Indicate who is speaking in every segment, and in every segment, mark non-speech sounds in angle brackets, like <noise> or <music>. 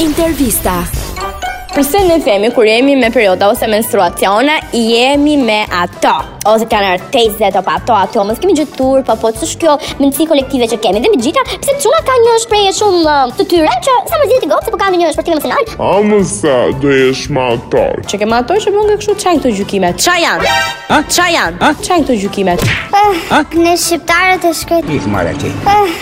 Speaker 1: Intervista.
Speaker 2: Përse ne themi kur jemi me perioda ose menstruacione, jemi me ato. Ose kanë artezet apo ato ato, mos kemi gjë turp, apo ç'është kjo mendësi kolektive që kemi. Dhe me gjitha, pse çuna ka një shprehje shumë ë, të tyre që sa më zgjidhet gocë, po kanë një shpërtim emocional.
Speaker 3: A më sa do jesh ma atar
Speaker 4: Që kema ato që bën nga kështu çajnë këto gjykime. Ça janë? A? Ça janë? A? Çajnë këto gjykimet.
Speaker 5: Eh,
Speaker 6: Ah?
Speaker 5: Ne shqiptarët e shkret... Ikë marrë ti.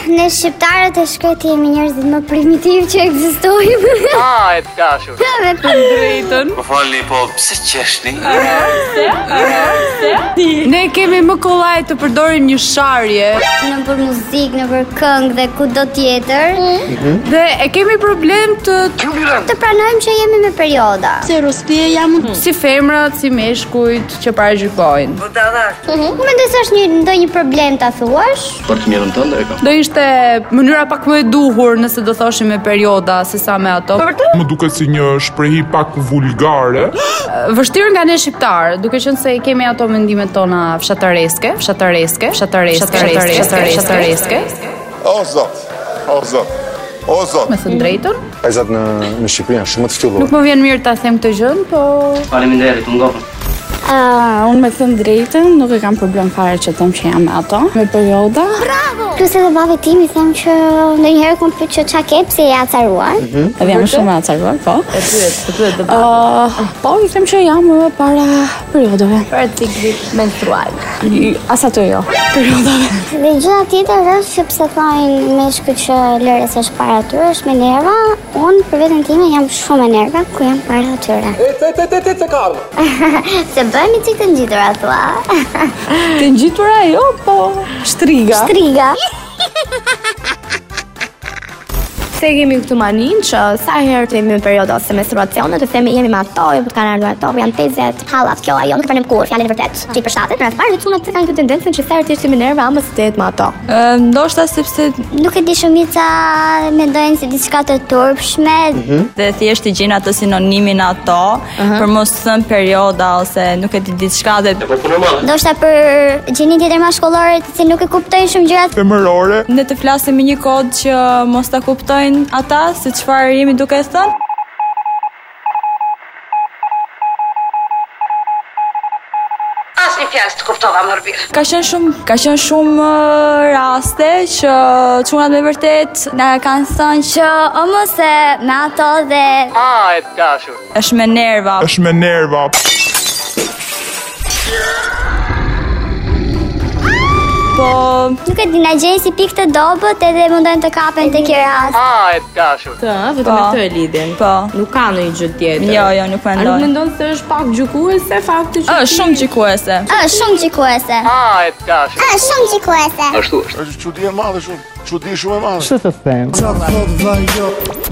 Speaker 5: Ne shqiptarët e shkret jemi njerëzit më primitiv që ekzistojmë. <laughs>
Speaker 6: Ah, e të dashur.
Speaker 5: Dhe për
Speaker 6: Më falni, po pse qeshni?
Speaker 7: Ne kemi më kollaj të përdorim një sharje
Speaker 5: në për muzikë, në për këngë dhe ku do tjetër,
Speaker 6: Mhm.
Speaker 7: dhe e kemi problem të
Speaker 5: të pranojmë që jemi me perioda.
Speaker 1: Se rrostie jam
Speaker 7: si femrat, si meshkujt që paragjykojnë.
Speaker 6: Mhm.
Speaker 5: Unë mendoj se është një ndonjë problem ta thuash.
Speaker 6: Për të mirën tënde e kam.
Speaker 7: Do ishte mënyra pak më e duhur nëse do thoshim me perioda se sa me ato.
Speaker 3: Më duket si një shprehi pak vulgare
Speaker 7: Vështirë nga ne shqiptarë, duke qenë se i kemi ato mendimet tona fshatareske, fshatareske, fshatareske, fshatareske, fshatareske, fshatareske,
Speaker 8: <gasps> O zot. O zot. O zot.
Speaker 7: me thënë drejtën.
Speaker 9: Pajzat në në Shqipëri janë shumë të ftyllur.
Speaker 7: Nuk më vjen mirë ta them këtë gjën, po
Speaker 6: Faleminderit, u ngopën.
Speaker 4: Ah, unë me thënë drejtën, nuk e kam problem fare që them që jam me ato, me perioda.
Speaker 6: Mhm.
Speaker 5: Plus edhe babi tim i them që ndonjëherë kur pyet që çka ke pse je acaruar.
Speaker 4: Edhe jam shumë e acaruar, po. E pyet, e pyet do po, i them që jam eh, para periodave.
Speaker 2: Për ciklit menstrual.
Speaker 4: As ato jo.
Speaker 5: Dhe gjëra tjetër është që pse thonë meshku që lëres është para tyre, është me nerva. Unë për veten time jam shumë e nerva kur jam para tyre. E te te te te te Se bëhemi çik të ngjitura thua.
Speaker 4: Të ngjitura jo, po shtriga.
Speaker 5: Triga.
Speaker 2: Se kemi këtë manin që sa herë të jemi në perioda ose menstruacione, të themi jemi me ato, jo të kanë ardhur ato, janë tezet, hallat, kjo ajo, nuk e përnem kur, fjalën e vërtet. Ti për shtatet, në rreth parë çunat se kanë këtë tendencën që sa herë të jemi nerva, mos të jetë me ato.
Speaker 7: Ë, ndoshta sepse
Speaker 5: Nuk e di shumica mendojnë se diçka të turpshme.
Speaker 7: Mhm.
Speaker 10: dhe thjesht i gjejnë atë sinonimin ato, për mos të thënë perioda ose nuk e di diçka dhe
Speaker 6: Po punë madhe.
Speaker 5: Ndoshta për gjeni tjetër maskullore të cilë nuk e kuptojnë shumë gjërat.
Speaker 3: Femërore
Speaker 10: ne të flasim me një kod që mos ta kuptojnë ata se çfarë jemi duke thënë.
Speaker 11: Asnjë fjalë të kuptova më rrëbirë.
Speaker 10: Ka qenë shumë, ka qenë shumë ë, raste që çunat me vërtet na kanë thënë që
Speaker 5: Që o mos e me ato dhe
Speaker 6: Ah, e të dashur.
Speaker 10: është me nerva.
Speaker 3: është me nerva
Speaker 10: Po
Speaker 5: nuk e di na gjejnë si pikë të dobët edhe mundojnë të kapen tek i rast.
Speaker 6: Ah, e të dashur.
Speaker 4: Të, ë, vetëm
Speaker 10: Po.
Speaker 4: me këtë e lidhin.
Speaker 10: Po.
Speaker 4: Nuk ka ndonjë gjë tjetër.
Speaker 10: jo, jo, nuk
Speaker 4: A nuk
Speaker 10: mendoj.
Speaker 4: mendon se është pak gjykuese fakti që
Speaker 10: Është shumë gjikuese.
Speaker 5: Ë, shumë qikuese.
Speaker 6: Ah, e të dashur.
Speaker 5: Ë, shumë qikuese.
Speaker 6: Ashtu është.
Speaker 8: Është çudi e madhe shumë. Çudi shumë e madhe.
Speaker 9: Çfarë të them?